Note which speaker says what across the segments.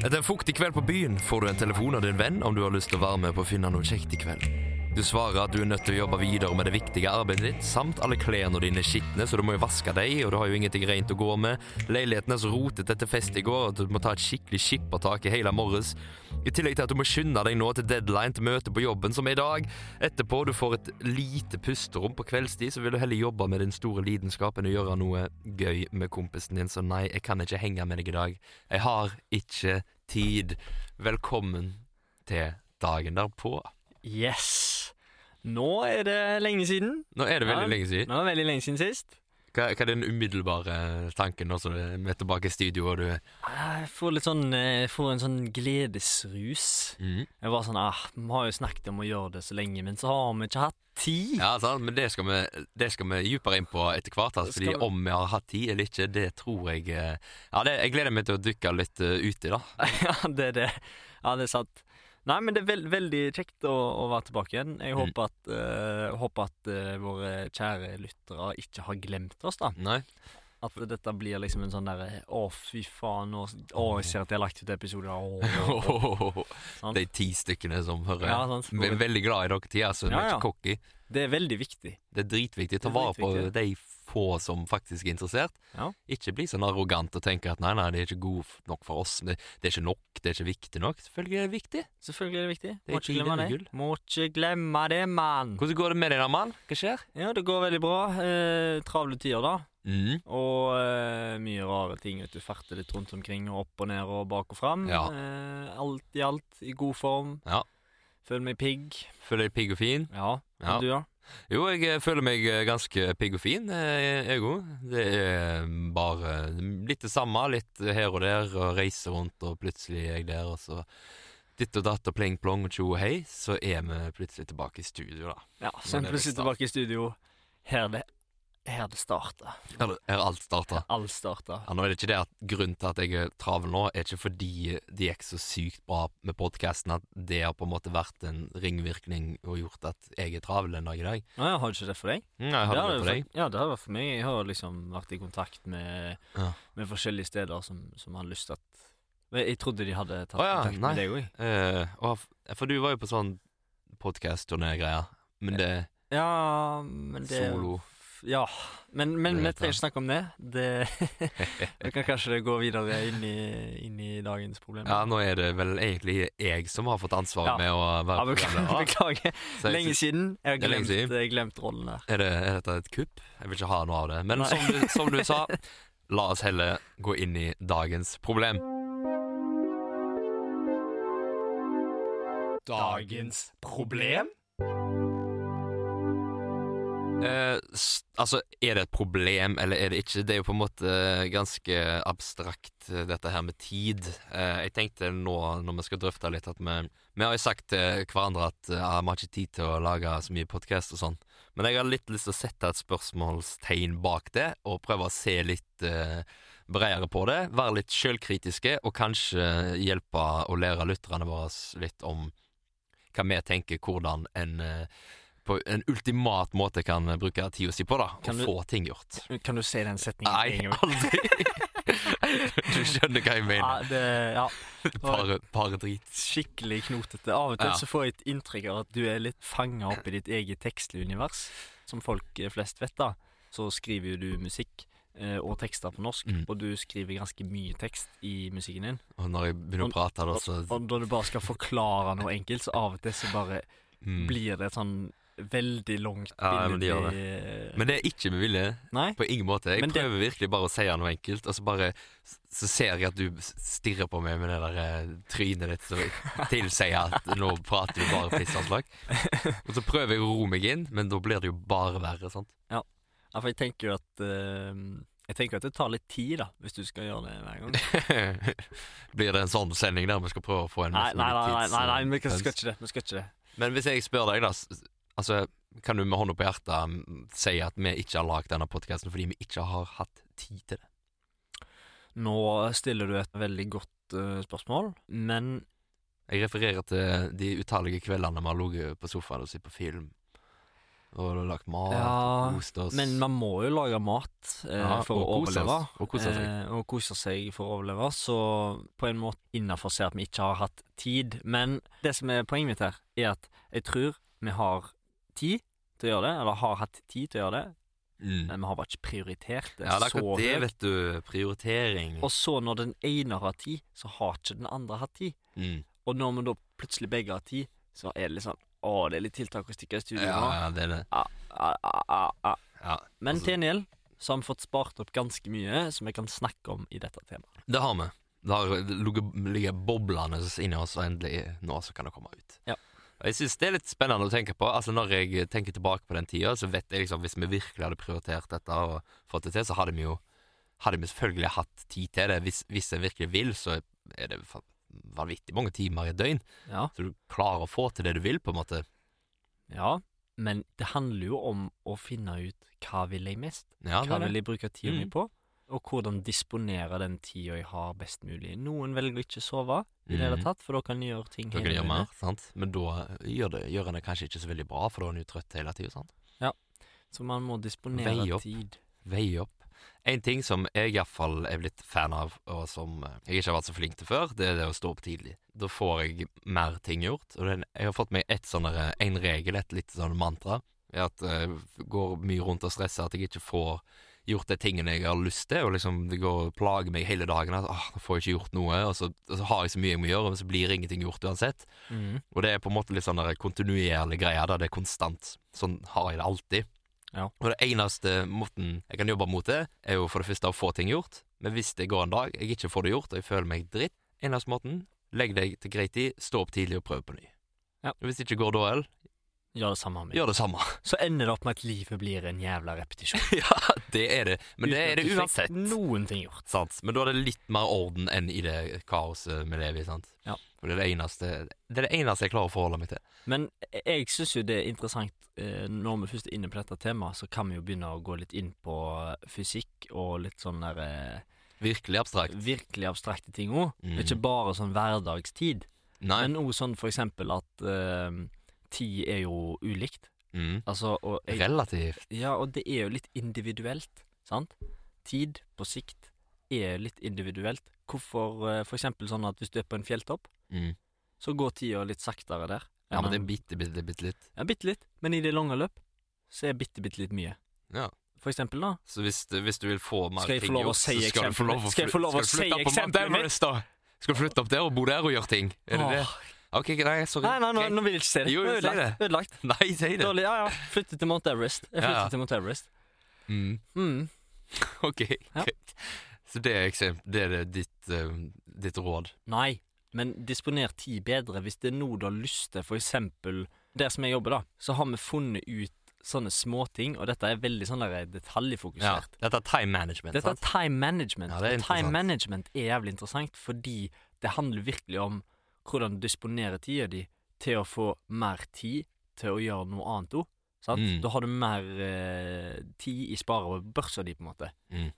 Speaker 1: Etter en fuktig kveld på byen får du en telefon av din venn om du har lyst til å være med på å finne noe kjekt i kveld. Du svarer at du er nødt til å jobbe videre med det viktige arbeidet ditt, samt alle klærne dine er skitne, så du må jo vaske dem, og du har jo ingenting rent å gå med. Leiligheten er så rotete etter fest i går at du må ta et skikkelig skippertak i hele morges. I tillegg til at du må skynde deg nå til deadline til møtet på jobben, som er i dag. Etterpå du får et lite pusterom på kveldstid, så vil du heller jobbe med din store lidenskap enn å gjøre noe gøy med kompisen din, så nei, jeg kan ikke henge med deg i dag. Jeg har ikke tid. Velkommen til dagen derpå.
Speaker 2: Yes! Nå er det lenge siden.
Speaker 1: Nå er det veldig
Speaker 2: Ja.
Speaker 1: lenge siden.
Speaker 2: Nå er det veldig lenge siden sist.
Speaker 1: Hva, hva er den umiddelbare tanken nå som du er tilbake i studio og du
Speaker 2: Jeg får litt sånn eh, Jeg får en sånn gledesrus.
Speaker 1: mm.
Speaker 2: Jeg var sånn ah, Vi har jo snakket om å gjøre det så lenge, men så har vi ikke hatt tid.
Speaker 1: Ja, sant, men det skal, vi, det skal vi dypere inn på etter hvert. Altså,
Speaker 2: Skal
Speaker 1: fordi
Speaker 2: vi-
Speaker 1: om vi har hatt tid eller ikke, det tror jeg eh, Ja, det, jeg gleder meg til å dykke litt eh, ut i, da.
Speaker 2: Ja, det er det. Ja, det er sant. Nei, men det er vel- veldig kjekt å, å være tilbake igjen. Jeg
Speaker 1: Mm.
Speaker 2: håper at, eh, håper at eh, våre kjære lyttere ikke har glemt oss, da.
Speaker 1: Nei?
Speaker 2: At dette blir liksom en sånn derre Å, fy faen, nå Å, jeg ser at jeg har lagt ut episoder. Å, å, å. Sant.
Speaker 1: De ti stykkene som hører.
Speaker 2: Ja, sant.
Speaker 1: Vi er veldig glad i dere ti, altså. Vi
Speaker 2: Ja,
Speaker 1: er
Speaker 2: ja.
Speaker 1: ikke cocky.
Speaker 2: Det er veldig viktig.
Speaker 1: Det er dritviktig. Ta
Speaker 2: Det er
Speaker 1: vare på
Speaker 2: dritviktig.
Speaker 1: de få som faktisk er interessert.
Speaker 2: Ja.
Speaker 1: Ikke bli sånn arrogant og tenke at nei, nei, det er ikke god f- nok for oss. Det, det er ikke nok, det er ikke viktig nok. Selvfølgelig er det viktig.
Speaker 2: Selvfølgelig er det viktig.
Speaker 1: Det er
Speaker 2: Må ikke glemme
Speaker 1: tiden,
Speaker 2: det.
Speaker 1: gull.
Speaker 2: Må ikke glemme det, mann.
Speaker 1: Hvordan går det med deg da, mann? Hva skjer?
Speaker 2: Ja, det går veldig bra. Eh, travle tider, da.
Speaker 1: Mm.
Speaker 2: Og eh, mye rare ting. Vet du farter litt rundt omkring, og opp og ned og bak og fram.
Speaker 1: Ja.
Speaker 2: Eh, alt i alt i god form.
Speaker 1: Ja.
Speaker 2: Føler meg pigg.
Speaker 1: Føler deg pigg og fin?
Speaker 2: Ja.
Speaker 1: Ja.
Speaker 2: Og du, da?
Speaker 1: Jo, jeg eh, føler meg eh, ganske pigg og fin, eh, jeg òg. Det er mm, bare litt det samme, litt her og der, og reise rundt, og plutselig er jeg der, og så ditt og datt og pling plong og tjo og hei, så er vi plutselig tilbake i studio, da.
Speaker 2: Ja, så
Speaker 1: det
Speaker 2: er vi
Speaker 1: er
Speaker 2: plutselig
Speaker 1: start.
Speaker 2: tilbake i studio. Her det, her det starta.
Speaker 1: Her her alt starta.
Speaker 2: Alt starta.
Speaker 1: Ja, nå er det ikke det at Grunnen til at jeg er travel nå, er ikke fordi det gikk så sykt bra med podkasten at det har på en måte vært en ringvirkning og gjort at jeg er travel en dag i dag.
Speaker 2: Å ja, har du ikke det for deg?
Speaker 1: Mm, jeg hører det
Speaker 2: har
Speaker 1: på
Speaker 2: det
Speaker 1: deg.
Speaker 2: for- Ja, det har det vært for meg. Jeg har liksom vært i kontakt med,
Speaker 1: Ja.
Speaker 2: med forskjellige steder som, som har lyst til at Men Jeg trodde de hadde tatt
Speaker 1: Å ja,
Speaker 2: kontakt
Speaker 1: nei.
Speaker 2: med deg òg.
Speaker 1: Eh, og, f- for du var jo på sånn podkast-turné-greier, men det
Speaker 2: Ja, men det
Speaker 1: Solo.
Speaker 2: Ja, men, men
Speaker 1: Det
Speaker 2: vi
Speaker 1: heter
Speaker 2: trenger ikke snakke om det. det vi kan kanskje gå videre inn i, inn i dagens problem.
Speaker 1: Ja, nå er det vel egentlig jeg som har fått ansvaret
Speaker 2: Ja.
Speaker 1: med å
Speaker 2: Ja,
Speaker 1: være
Speaker 2: beklager.
Speaker 1: programleder.
Speaker 2: beklager.
Speaker 1: Så jeg
Speaker 2: Lenge
Speaker 1: synes-
Speaker 2: siden. Jeg har
Speaker 1: Det er lenge
Speaker 2: glemt,
Speaker 1: siden.
Speaker 2: jeg har glemt rollen der.
Speaker 1: Er, det, er dette et kupp? Jeg vil ikke ha noe av det. Men
Speaker 2: Nei.
Speaker 1: som du, som du sa, la oss heller gå inn i dagens problem.
Speaker 2: Dagens problem?
Speaker 1: Eh, s- altså, er det et problem, eller er det ikke? Det er jo på en måte ganske abstrakt, eh, dette her med tid. Eh, jeg tenkte nå, når vi skal drøfte litt, at vi, vi har jo sagt til hverandre at eh, ah, vi har ikke tid til å lage så mye podkast og sånn. Men jeg har litt lyst til å sette et spørsmålstegn bak det, og prøve å se litt eh, bredere på det. Være litt sjølkritiske, og kanskje hjelpe å lære lytterne våre litt om hva vi tenker, hvordan en eh, på en ultimat måte kan bruke tida si på, da.
Speaker 2: Kan
Speaker 1: og
Speaker 2: du-
Speaker 1: få ting gjort.
Speaker 2: Kan du si den setningen?
Speaker 1: Nei,
Speaker 2: en gang?
Speaker 1: aldri! du skjønner hva jeg
Speaker 2: Ja,
Speaker 1: mener.
Speaker 2: det, ja.
Speaker 1: Bare, bare drit.
Speaker 2: Skikkelig knotete. Av og til
Speaker 1: Ja.
Speaker 2: så får jeg et inntrykk av at du er litt fanga opp i ditt eget tekstlige univers. Som folk eh, flest vet, da, så skriver jo du musikk eh, og tekster på norsk.
Speaker 1: Mm.
Speaker 2: Og du skriver ganske mye tekst i musikken din.
Speaker 1: Og når jeg begynner å prate, da, så
Speaker 2: Og når du bare skal forklare noe enkelt, så av og til så bare
Speaker 1: mm.
Speaker 2: blir det et sånn veldig langt
Speaker 1: Ja, men det gjør
Speaker 2: det.
Speaker 1: Men det er ikke med vilje.
Speaker 2: Nei?
Speaker 1: På ingen måte. Jeg
Speaker 2: Men det-
Speaker 1: prøver virkelig bare å si noe enkelt, og så bare så ser jeg at du stirrer på meg med det der eh, trynet ditt som tilsier at nå prater du bare piss og slag. Og så prøver jeg å roe meg inn, men da blir det jo bare verre, sant.
Speaker 2: Ja, for jeg tenker jo at eh, Jeg tenker jo at det tar litt tid, da, hvis du skal gjøre det hver gang.
Speaker 1: blir det en sånn sending der vi skal prøve å få en mest
Speaker 2: Mm. Nei, nei,
Speaker 1: mulig
Speaker 2: nei, nei,
Speaker 1: tids- eh,
Speaker 2: nei, nei vi skal ikke det. Vi skal ikke det.
Speaker 1: Men hvis jeg spør deg, da s- s- altså, Kan du med hånda på hjertet mm, si at vi ikke har lagd denne podkasten fordi vi ikke har hatt tid til det?
Speaker 2: Nå stiller du et veldig godt eh, spørsmål, men
Speaker 1: Jeg refererer til de utallige kveldene vi har ligget på sofaen og sett på film. Og du har lagt mat
Speaker 2: Ja,
Speaker 1: og kost oss.
Speaker 2: Men man må jo lage mat eh,
Speaker 1: Ja,
Speaker 2: for å
Speaker 1: og kose oss,
Speaker 2: overleve.
Speaker 1: og kose seg.
Speaker 2: Eh, og kose seg for å overleve. Så på en måte innafor ser at vi ikke har hatt tid. Men det som er poenget mitt her, er at jeg tror vi har tid til å gjøre det. Eller har hatt tid til å gjøre det,
Speaker 1: Mm.
Speaker 2: men vi har bare ikke prioritert det,
Speaker 1: Ja, det er
Speaker 2: så
Speaker 1: akkurat det,
Speaker 2: høyt.
Speaker 1: vet du. Prioritering.
Speaker 2: Og så når den ene har hatt tid, så har ikke den andre hatt tid.
Speaker 1: Mm.
Speaker 2: Og når vi da plutselig begge har tid, så er det litt sånn Å, det er litt tiltak å stikke i studio
Speaker 1: Ja,
Speaker 2: nå.
Speaker 1: ja, det er det.
Speaker 2: Ah, ah, ah, ah.
Speaker 1: Ja.
Speaker 2: Men
Speaker 1: Altså-
Speaker 2: til en gjeld så har vi fått spart opp ganske mye som vi kan snakke om i dette temaet.
Speaker 1: Det har vi. Det har det ligger- ligger boblene inni oss, og endelig nå så kan det komme ut.
Speaker 2: Ja.
Speaker 1: Og Jeg synes det er litt spennende å tenke på. Altså Når jeg tenker tilbake på den tida, så vet jeg liksom hvis vi virkelig hadde prioritert dette og fått det til, så hadde vi jo Hadde vi selvfølgelig hatt tid til det. Hvis, hvis en virkelig vil, så er det fa- vanvittig mange timer i et døgn.
Speaker 2: Ja.
Speaker 1: Så du klarer å få til det du vil, på en måte.
Speaker 2: ja, men det handler jo om å finne ut hva vil jeg mest?
Speaker 1: Ja, det
Speaker 2: Hva
Speaker 1: er det.
Speaker 2: vil jeg bruke tida mi
Speaker 1: Mm.
Speaker 2: på? Og hvordan disponere den tida jeg har best mulig. Noen velger å ikke sove i det hele
Speaker 1: Mhm.
Speaker 2: tatt, for da kan de gjøre ting
Speaker 1: Dere gjør
Speaker 2: døgnet.
Speaker 1: mer, sant? Men da gjør, det, gjør en det kanskje ikke så veldig bra, for da er en jo trøtt hele tida, sant?
Speaker 2: Så man må
Speaker 1: Vei
Speaker 2: disponere
Speaker 1: opp.
Speaker 2: tid.
Speaker 1: veie opp. En ting som jeg iallfall er blitt fan av, og som eh, jeg ikke har vært så flink til før, det er det å stå opp tidlig. Da får jeg mer ting gjort. Og den, jeg har fått meg et sånn derre- en regel, et lite sånn mantra, er at jeg går mye rundt og stresser at jeg ikke får gjort de tingene jeg har lyst til, og liksom det går og plager meg hele dagen at åh, nå får jeg ikke gjort noe, og så, og så har jeg så mye jeg må gjøre, men så blir ingenting gjort uansett.
Speaker 2: Mhm.
Speaker 1: Og det er på en måte litt sånn der kontinuerlig greie der, det er konstant. Sånn har jeg det alltid.
Speaker 2: Ja.
Speaker 1: Og det eneste måten jeg kan jobbe mot det, er jo for det første å få ting gjort. Men hvis det går en dag jeg ikke får det gjort, og jeg føler meg dritt, eneste måten, legg deg til grei tid, stå opp tidlig og prøv på ny.
Speaker 2: Ja.
Speaker 1: Og Hvis det ikke går da heller,
Speaker 2: Gjør det samme med.
Speaker 1: gjør det samme.
Speaker 2: Så ender det opp med at livet blir en jævla repetisjon.
Speaker 1: ja, det er det. Men det
Speaker 2: Uten at
Speaker 1: er det
Speaker 2: du fikk
Speaker 1: uansett.
Speaker 2: Noen ting gjort.
Speaker 1: Sant. Men da er det litt mer orden enn i det kaoset vi lever i, sant.
Speaker 2: Ja.
Speaker 1: For det er det eneste, det er det eneste jeg klarer å forholde meg til.
Speaker 2: Men jeg syns jo det er interessant eh, Når vi først er inne på dette temaet, så kan vi jo begynne å gå litt inn på eh, fysikk og litt sånn der eh,
Speaker 1: Virkelig abstrakt.
Speaker 2: virkelig abstrakte ting òg.
Speaker 1: Mm.
Speaker 2: Ikke bare sånn hverdagstid,
Speaker 1: Nei.
Speaker 2: men òg sånn for eksempel at eh, tid er jo ulikt.
Speaker 1: Mm.
Speaker 2: Altså, og jeg,
Speaker 1: Relativt.
Speaker 2: ja, og det er jo litt individuelt, sant? Tid på sikt er litt individuelt. Hvorfor eh, for eksempel sånn at hvis du er på en fjelltopp,
Speaker 1: Mm.
Speaker 2: så går tida litt saktere der.
Speaker 1: Ja, men
Speaker 2: enn
Speaker 1: det
Speaker 2: om-
Speaker 1: er bitte, bitte, bitte litt.
Speaker 2: Ja, bitte litt, men i det lange løp så er bitte, bitte litt mye.
Speaker 1: Ja.
Speaker 2: For eksempel, da.
Speaker 1: Så hvis, du- hvis du vil få mer
Speaker 2: Skal jeg få
Speaker 1: ting
Speaker 2: lov å
Speaker 1: gjort,
Speaker 2: si
Speaker 1: så skal du få lov
Speaker 2: eksempelet?
Speaker 1: å
Speaker 2: Skal jeg få lov å
Speaker 1: skal du
Speaker 2: si
Speaker 1: flytte opp på Mount
Speaker 2: eksempelet mitt?
Speaker 1: Everest, da? Skal du flytte opp der og bo der og gjøre ting? Er det det?
Speaker 2: Åh,
Speaker 1: Ok, nei, sorry.
Speaker 2: Nei, nei, nå,
Speaker 1: Greit.
Speaker 2: nå vil jeg ikke si det.
Speaker 1: Jo,
Speaker 2: Nå er
Speaker 1: si
Speaker 2: ødelagt. ødelagt.
Speaker 1: Nei, si det.
Speaker 2: Dårlig. Ja, ja. Flytte til Mount Everest. Jeg flytter
Speaker 1: Ja.
Speaker 2: til Mount Everest.
Speaker 1: Mm,
Speaker 2: Mm.
Speaker 1: ok,
Speaker 2: Ja.
Speaker 1: greit. Så det er, eksempel, det er det ditt, eh, ditt råd.
Speaker 2: Nei, men disponer tid bedre hvis det er noe du har lyst til. For eksempel der som jeg jobber, da, så har vi funnet ut sånne småting, og dette er veldig sånn der
Speaker 1: Ja.
Speaker 2: detaljfokusert.
Speaker 1: Dette er time management,
Speaker 2: Dette er
Speaker 1: sant?
Speaker 2: time management.
Speaker 1: Ja, det er
Speaker 2: og time
Speaker 1: interessant.
Speaker 2: management er jævlig interessant fordi det handler virkelig om hvordan du disponerer tida di til å få mer tid til å gjøre noe annet òg.
Speaker 1: Mm.
Speaker 2: Da har du mer eh, tid i sparet på børsa di, på en måte.
Speaker 1: Mm.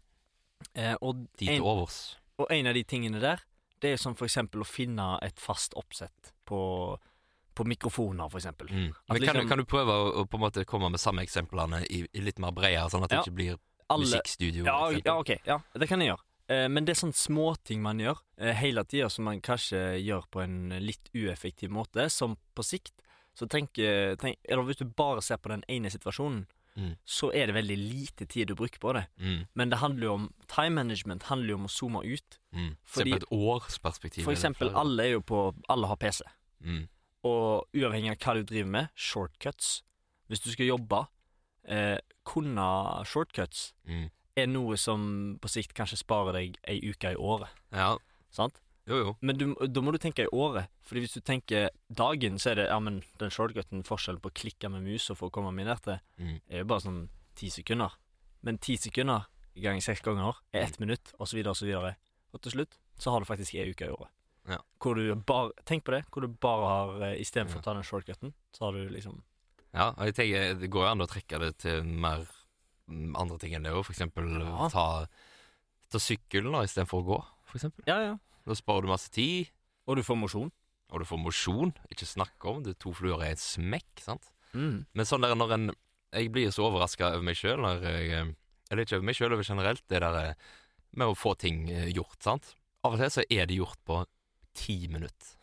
Speaker 2: Eh, og,
Speaker 1: Tid
Speaker 2: en,
Speaker 1: til overs.
Speaker 2: og en av de tingene der, det er som for eksempel å finne et fast oppsett på, på mikrofoner, for eksempel.
Speaker 1: Mm.
Speaker 2: At
Speaker 1: Men kan, du-
Speaker 2: liksom-
Speaker 1: kan du prøve å, å på en måte komme med samme eksemplene i, i litt mer bredere, sånn at det
Speaker 2: Ja.
Speaker 1: ikke blir
Speaker 2: Alle,
Speaker 1: musikkstudio?
Speaker 2: Ja,
Speaker 1: eksempel?
Speaker 2: ja, ok. Ja, det kan jeg gjøre. Eh, Men det er sånne småting man gjør eh, hele tida, som man kanskje gjør på en litt ueffektiv måte, som på sikt så tenker, tenk, Eller hvis du bare ser på den ene situasjonen,
Speaker 1: Mm.
Speaker 2: så er det veldig lite tid du bruker på det.
Speaker 1: Mm.
Speaker 2: Men det handler jo om time management handler jo om å zoome ut.
Speaker 1: Mm. Se
Speaker 2: Fordi-
Speaker 1: på et årsperspektiv.
Speaker 2: For
Speaker 1: er det
Speaker 2: eksempel,
Speaker 1: flere.
Speaker 2: alle er jo på Alle har PC.
Speaker 1: Mm.
Speaker 2: Og uavhengig av hva du driver med, shortcuts. Hvis du skal jobbe, eh, kunne shortcuts
Speaker 1: Mm.
Speaker 2: er noe som på sikt kanskje sparer deg ei uke i året.
Speaker 1: Ja,
Speaker 2: Sant?
Speaker 1: jo jo.
Speaker 2: Men du, da må du tenke i året. Fordi hvis du tenker dagen, så er det ja, men den shortcuten forskjellen på å klikke med musa for å komme meg ned til,
Speaker 1: Mm.
Speaker 2: er jo bare sånn ti sekunder. Men ti sekunder ganger seks ganger er
Speaker 1: Mm.
Speaker 2: ett minutt, og så videre og så videre. Og til slutt så har du faktisk ei uke i året.
Speaker 1: Ja.
Speaker 2: Hvor du bare, Tenk på det, hvor du bare har eh, Istedenfor å ta den shortcuten, så har du liksom
Speaker 1: Ja, og jeg tenker Det går jo an å trekke det til mer mm, andre ting enn det òg. For eksempel eh,
Speaker 2: Ja.
Speaker 1: ta, ta sykkelen da, istedenfor å gå. For eksempel.
Speaker 2: Ja, ja.
Speaker 1: da sparer du masse tid,
Speaker 2: Og du får mosjon.
Speaker 1: Mm. og du får mosjon. Ikke snakke om det. To fluer er et smekk. sant? Men sånn der når en Jeg blir så overraska over meg sjøl når jeg eh, Eller ikke over meg sjøl, over generelt, det der eh, med å få ting eh, gjort, sant. Av og til så er det gjort på ti minutter.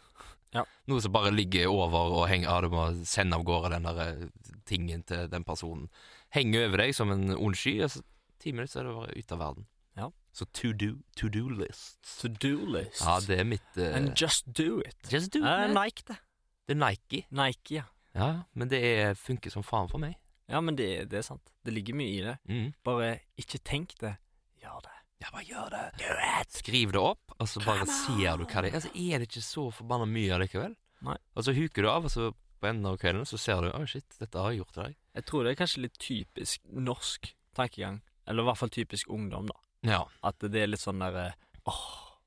Speaker 2: Ja.
Speaker 1: Noe som bare ligger over og henger Ja, du må sende av gårde den der eh, tingen til den personen. Henger over deg som en ond sky, og så ti minutter så er det bare ute av verden.
Speaker 2: Ja.
Speaker 1: Så to do, to do list.
Speaker 2: To do list.
Speaker 1: Ja, det er mitt eh,
Speaker 2: And just do it.
Speaker 1: Just do
Speaker 2: Eh,
Speaker 1: it.
Speaker 2: Nike, det.
Speaker 1: Det er Nike.
Speaker 2: Nike, ja.
Speaker 1: Ja, men det er, funker som faen for meg.
Speaker 2: Ja, men det, det er sant. Det ligger mye i det.
Speaker 1: Mm.
Speaker 2: Bare ikke tenk det. Gjør det.
Speaker 1: Ja, bare gjør det. Skriv det opp, og så bare
Speaker 2: Come
Speaker 1: ser du
Speaker 2: on.
Speaker 1: hva det er. Så er det ikke så forbanna mye allikevel.
Speaker 2: Nei.
Speaker 1: Og så huker du av, og så på enden av kvelden så ser du Å, shit, dette har jeg gjort til deg.
Speaker 2: Jeg tror det er kanskje litt typisk norsk tankegang. Eller i hvert fall typisk ungdom, da.
Speaker 1: Ja.
Speaker 2: At det er litt sånn derre åh,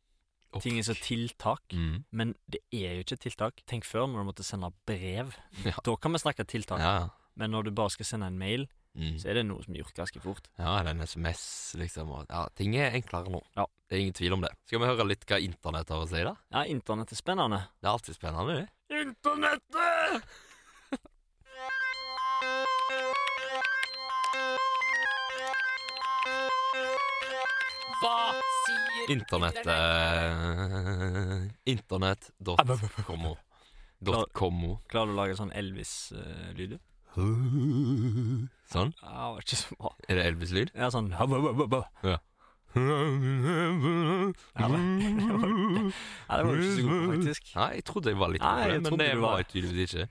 Speaker 1: Opp.
Speaker 2: ting er så tiltak.
Speaker 1: Mm.
Speaker 2: Men det er jo ikke tiltak. Tenk før, når du måtte sende brev.
Speaker 1: Ja.
Speaker 2: Da kan vi snakke tiltak.
Speaker 1: Ja.
Speaker 2: Men når du bare skal sende en mail,
Speaker 1: Mm.
Speaker 2: så er det noe som er gjort ganske fort.
Speaker 1: ja, det er en SMS, liksom. Og, ja, ting er enklere nå.
Speaker 2: Ja.
Speaker 1: Det er ingen tvil om det. Skal vi høre litt hva internett har å si, da?
Speaker 2: Ja, internett er spennende.
Speaker 1: Det er alltid spennende, det.
Speaker 2: Internettet!
Speaker 1: Hva sier Internettet eh, Internett.commo.
Speaker 2: Klar-
Speaker 1: Dot commo.
Speaker 2: Klarer du å lage sånn Elvis-lyd?
Speaker 1: Sånn.
Speaker 2: ja, det var ikke så bra.
Speaker 1: Er det Elvis-lyd?
Speaker 2: Ja, sånn hub, hub, hub, hub, hub.
Speaker 1: Nei,
Speaker 2: Ja, det var jo ikke så god, faktisk.
Speaker 1: jeg trodde jeg var litt
Speaker 2: Nei,
Speaker 1: på det,
Speaker 2: jeg
Speaker 1: men
Speaker 2: trodde
Speaker 1: det
Speaker 2: du var-
Speaker 1: var jeg tydeligvis ikke.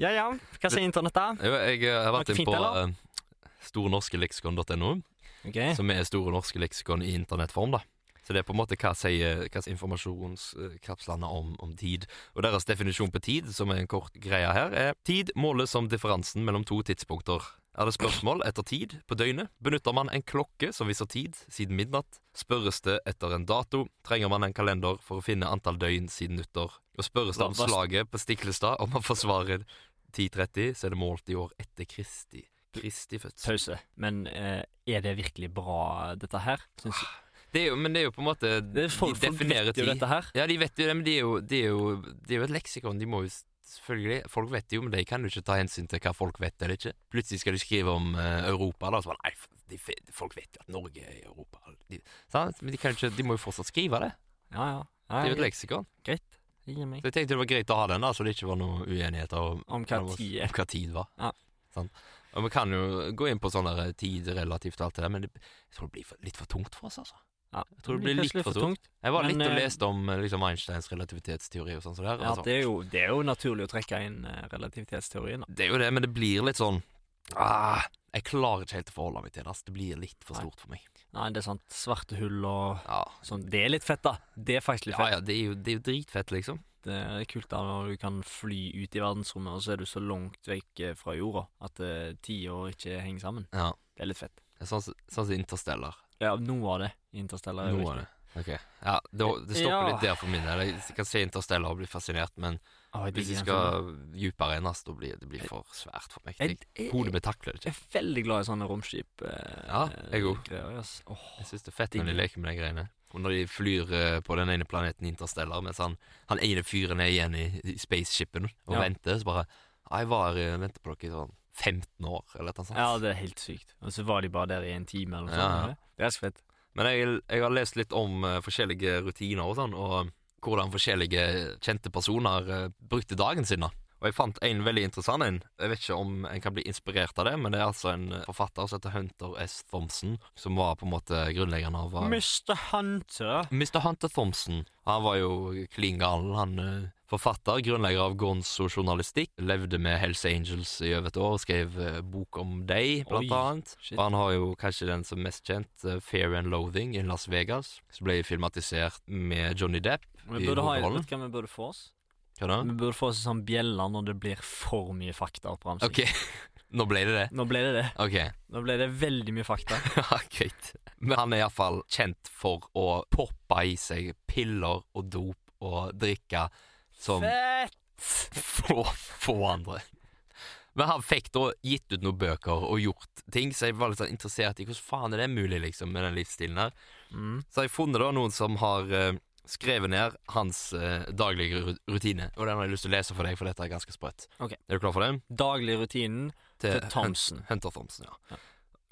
Speaker 2: Ja ja, hva sier internett, da?
Speaker 1: Jo, jeg eh, har vært
Speaker 2: Var det
Speaker 1: inn på
Speaker 2: fint, eller?
Speaker 1: eh, stornorskeleksikon.no,
Speaker 2: Ok,
Speaker 1: som er Store norske leksikon i internettform, da. Så det er på en måte hva sier hva sier informasjonskapslene om, om tid. Og deres definisjon på tid, som er en kort greie her, er tid måles som differansen mellom to tidspunkter. Er det spørsmål etter tid på døgnet, benytter man en klokke som viser tid siden midnatt, spørres det etter en dato, trenger man en kalender for å finne antall døgn siden nyttår, og spørres det om
Speaker 2: Hva- hva-
Speaker 1: slaget på Stiklestad om man forsvarer 1030, så er det målt i år etter Kristi. Kristi fødsel.
Speaker 2: pause. Men eh, er det virkelig bra, dette her? Syns
Speaker 1: Det er jo, men Ah, det er jo på en måte
Speaker 2: det er folk,
Speaker 1: De
Speaker 2: folk
Speaker 1: definerer
Speaker 2: vet jo
Speaker 1: tid.
Speaker 2: dette her.
Speaker 1: Ja, de vet jo det, men de er jo, de er jo, de er jo et leksikon. De må jo s- selvfølgelig Folk vet jo, men de kan jo ikke ta hensyn til hva folk vet eller ikke. Plutselig skal de skrive om eh, Europa, da, og så bare Nei, f- de, f- folk vet jo at Norge er i Europa. De, sant? Men de, kan jo ikke, de må jo fortsatt skrive det.
Speaker 2: Ja ja.
Speaker 1: Det
Speaker 2: ja
Speaker 1: er jo et
Speaker 2: jeg,
Speaker 1: leksikon.
Speaker 2: gir meg.
Speaker 1: Så jeg tenkte det var greit å ha den, da, så det ikke var noen uenigheter om
Speaker 2: Om hva
Speaker 1: om
Speaker 2: tid er.
Speaker 1: hva tid var.
Speaker 2: Ja.
Speaker 1: Sant? Og vi kan jo gå inn på sånn der tid relativt og alt det der, men det, jeg tror det blir for, litt for tungt for oss, altså.
Speaker 2: Ja,
Speaker 1: Jeg tror det blir litt
Speaker 2: kanskje
Speaker 1: for tungt. Jeg var
Speaker 2: Men,
Speaker 1: litt og
Speaker 2: eh,
Speaker 1: leste om eh, liksom Einsteins relativitetsteori og sånn. Så der,
Speaker 2: Ja,
Speaker 1: altså.
Speaker 2: det er, jo, det er jo naturlig å trekke inn eh, relativitetsteorien. da.
Speaker 1: Det er jo det, men det blir litt sånn ah, Jeg klarer ikke helt å forholde meg til det. ass. Det blir litt for
Speaker 2: Nei.
Speaker 1: stort for meg.
Speaker 2: Nei, det er sant. Svarte hull og
Speaker 1: Ja,
Speaker 2: sånn. Det er litt fett, da. Det er faktisk litt
Speaker 1: ja,
Speaker 2: fett. Eh,
Speaker 1: ja det, er jo, det er jo dritfett, liksom.
Speaker 2: Det er kult da når du kan fly ut i verdensrommet, og så er du så langt vekk eh, fra jorda at eh, tida ikke henger sammen.
Speaker 1: Ja.
Speaker 2: Det er litt fett.
Speaker 1: Det er Sånn som sånn som Interstellar.
Speaker 2: Ja, noe av det. Interstellar er jo
Speaker 1: Noe av det. Ok. Ja, det, det stopper
Speaker 2: Ja.
Speaker 1: litt der for min del. Jeg kan se Interstellar og bli fascinert, men
Speaker 2: Å, jeg
Speaker 1: hvis
Speaker 2: digger
Speaker 1: jeg
Speaker 2: den
Speaker 1: skal dypere inn, ass, da blir det blir for svært for meg.
Speaker 2: filmen.
Speaker 1: Jeg,
Speaker 2: jeg, jeg,
Speaker 1: hodet mitt takler det
Speaker 2: jeg
Speaker 1: ikke.
Speaker 2: er veldig glad i sånne romskip. Eh,
Speaker 1: Ja, jeg òg.
Speaker 2: greier, ass. Åh,
Speaker 1: Jeg syns det er fett når de leker med de greiene. Og når de flyr eh, på den ene planeten Interstellar, mens han, han ene fyren er igjen i, i spaceshipen og
Speaker 2: Ja.
Speaker 1: venter, så bare «Ja, Jeg var eh, venter på dere i sånn 15 år, eller noe sånt.
Speaker 2: ja, det er helt sykt. Og så var de bare der i en time eller noe
Speaker 1: Ja,
Speaker 2: sånt.
Speaker 1: ja.
Speaker 2: eller? Det er ganske fett.
Speaker 1: Men jeg, jeg har lest litt om eh, forskjellige rutiner og sånn, og hvordan forskjellige kjente personer eh, brukte dagen sin. da. Og jeg fant en veldig interessant en. Jeg vet ikke om en kan bli inspirert av det, men det er altså en eh, forfatter som heter Hunter S. Thompson, som var på en måte grunnleggeren av eh,
Speaker 2: Mr. Hunter.
Speaker 1: Mr. Hunter Thompson. Han var jo klin galen. Han eh, forfatter, grunnlegger av Gonzo journalistikk. Levde med Hells Angels i over et år. Skrev eh, bok om deg, blant
Speaker 2: Oi,
Speaker 1: annet.
Speaker 2: shit.
Speaker 1: Og han har jo kanskje den som mest kjent, eh, Fear and Loathing in Las Vegas. Som ble filmatisert med Johnny Depp Mm.
Speaker 2: Vi
Speaker 1: i
Speaker 2: burde ha,
Speaker 1: hovedrollen.
Speaker 2: vet du hva vi burde få oss?
Speaker 1: Hva da?
Speaker 2: Vi burde få oss en sånn bjelle når det blir for mye fakta på ramsing.
Speaker 1: Ok, nå ble det det.
Speaker 2: Nå ble det det.
Speaker 1: Ok,
Speaker 2: Nå ble det veldig mye fakta.
Speaker 1: ja, greit. Men han er iallfall kjent for å poppe i seg piller og dop og drikke som
Speaker 2: Fett!
Speaker 1: få, få andre. Men han fikk da gitt ut noen bøker og gjort ting, så jeg var litt sånn interessert i hvordan faen er det mulig liksom med den livsstilen her.
Speaker 2: Mm.
Speaker 1: Så har jeg funnet da noen som har eh, skrevet ned hans eh, daglige ru- rutine. Og den har jeg lyst til å lese for deg, for dette er ganske sprøtt.
Speaker 2: Ok.
Speaker 1: Er du klar for den?
Speaker 2: Daglig rutinen til Thomsen.
Speaker 1: Hun- Eh, Hunter Thompson, ja.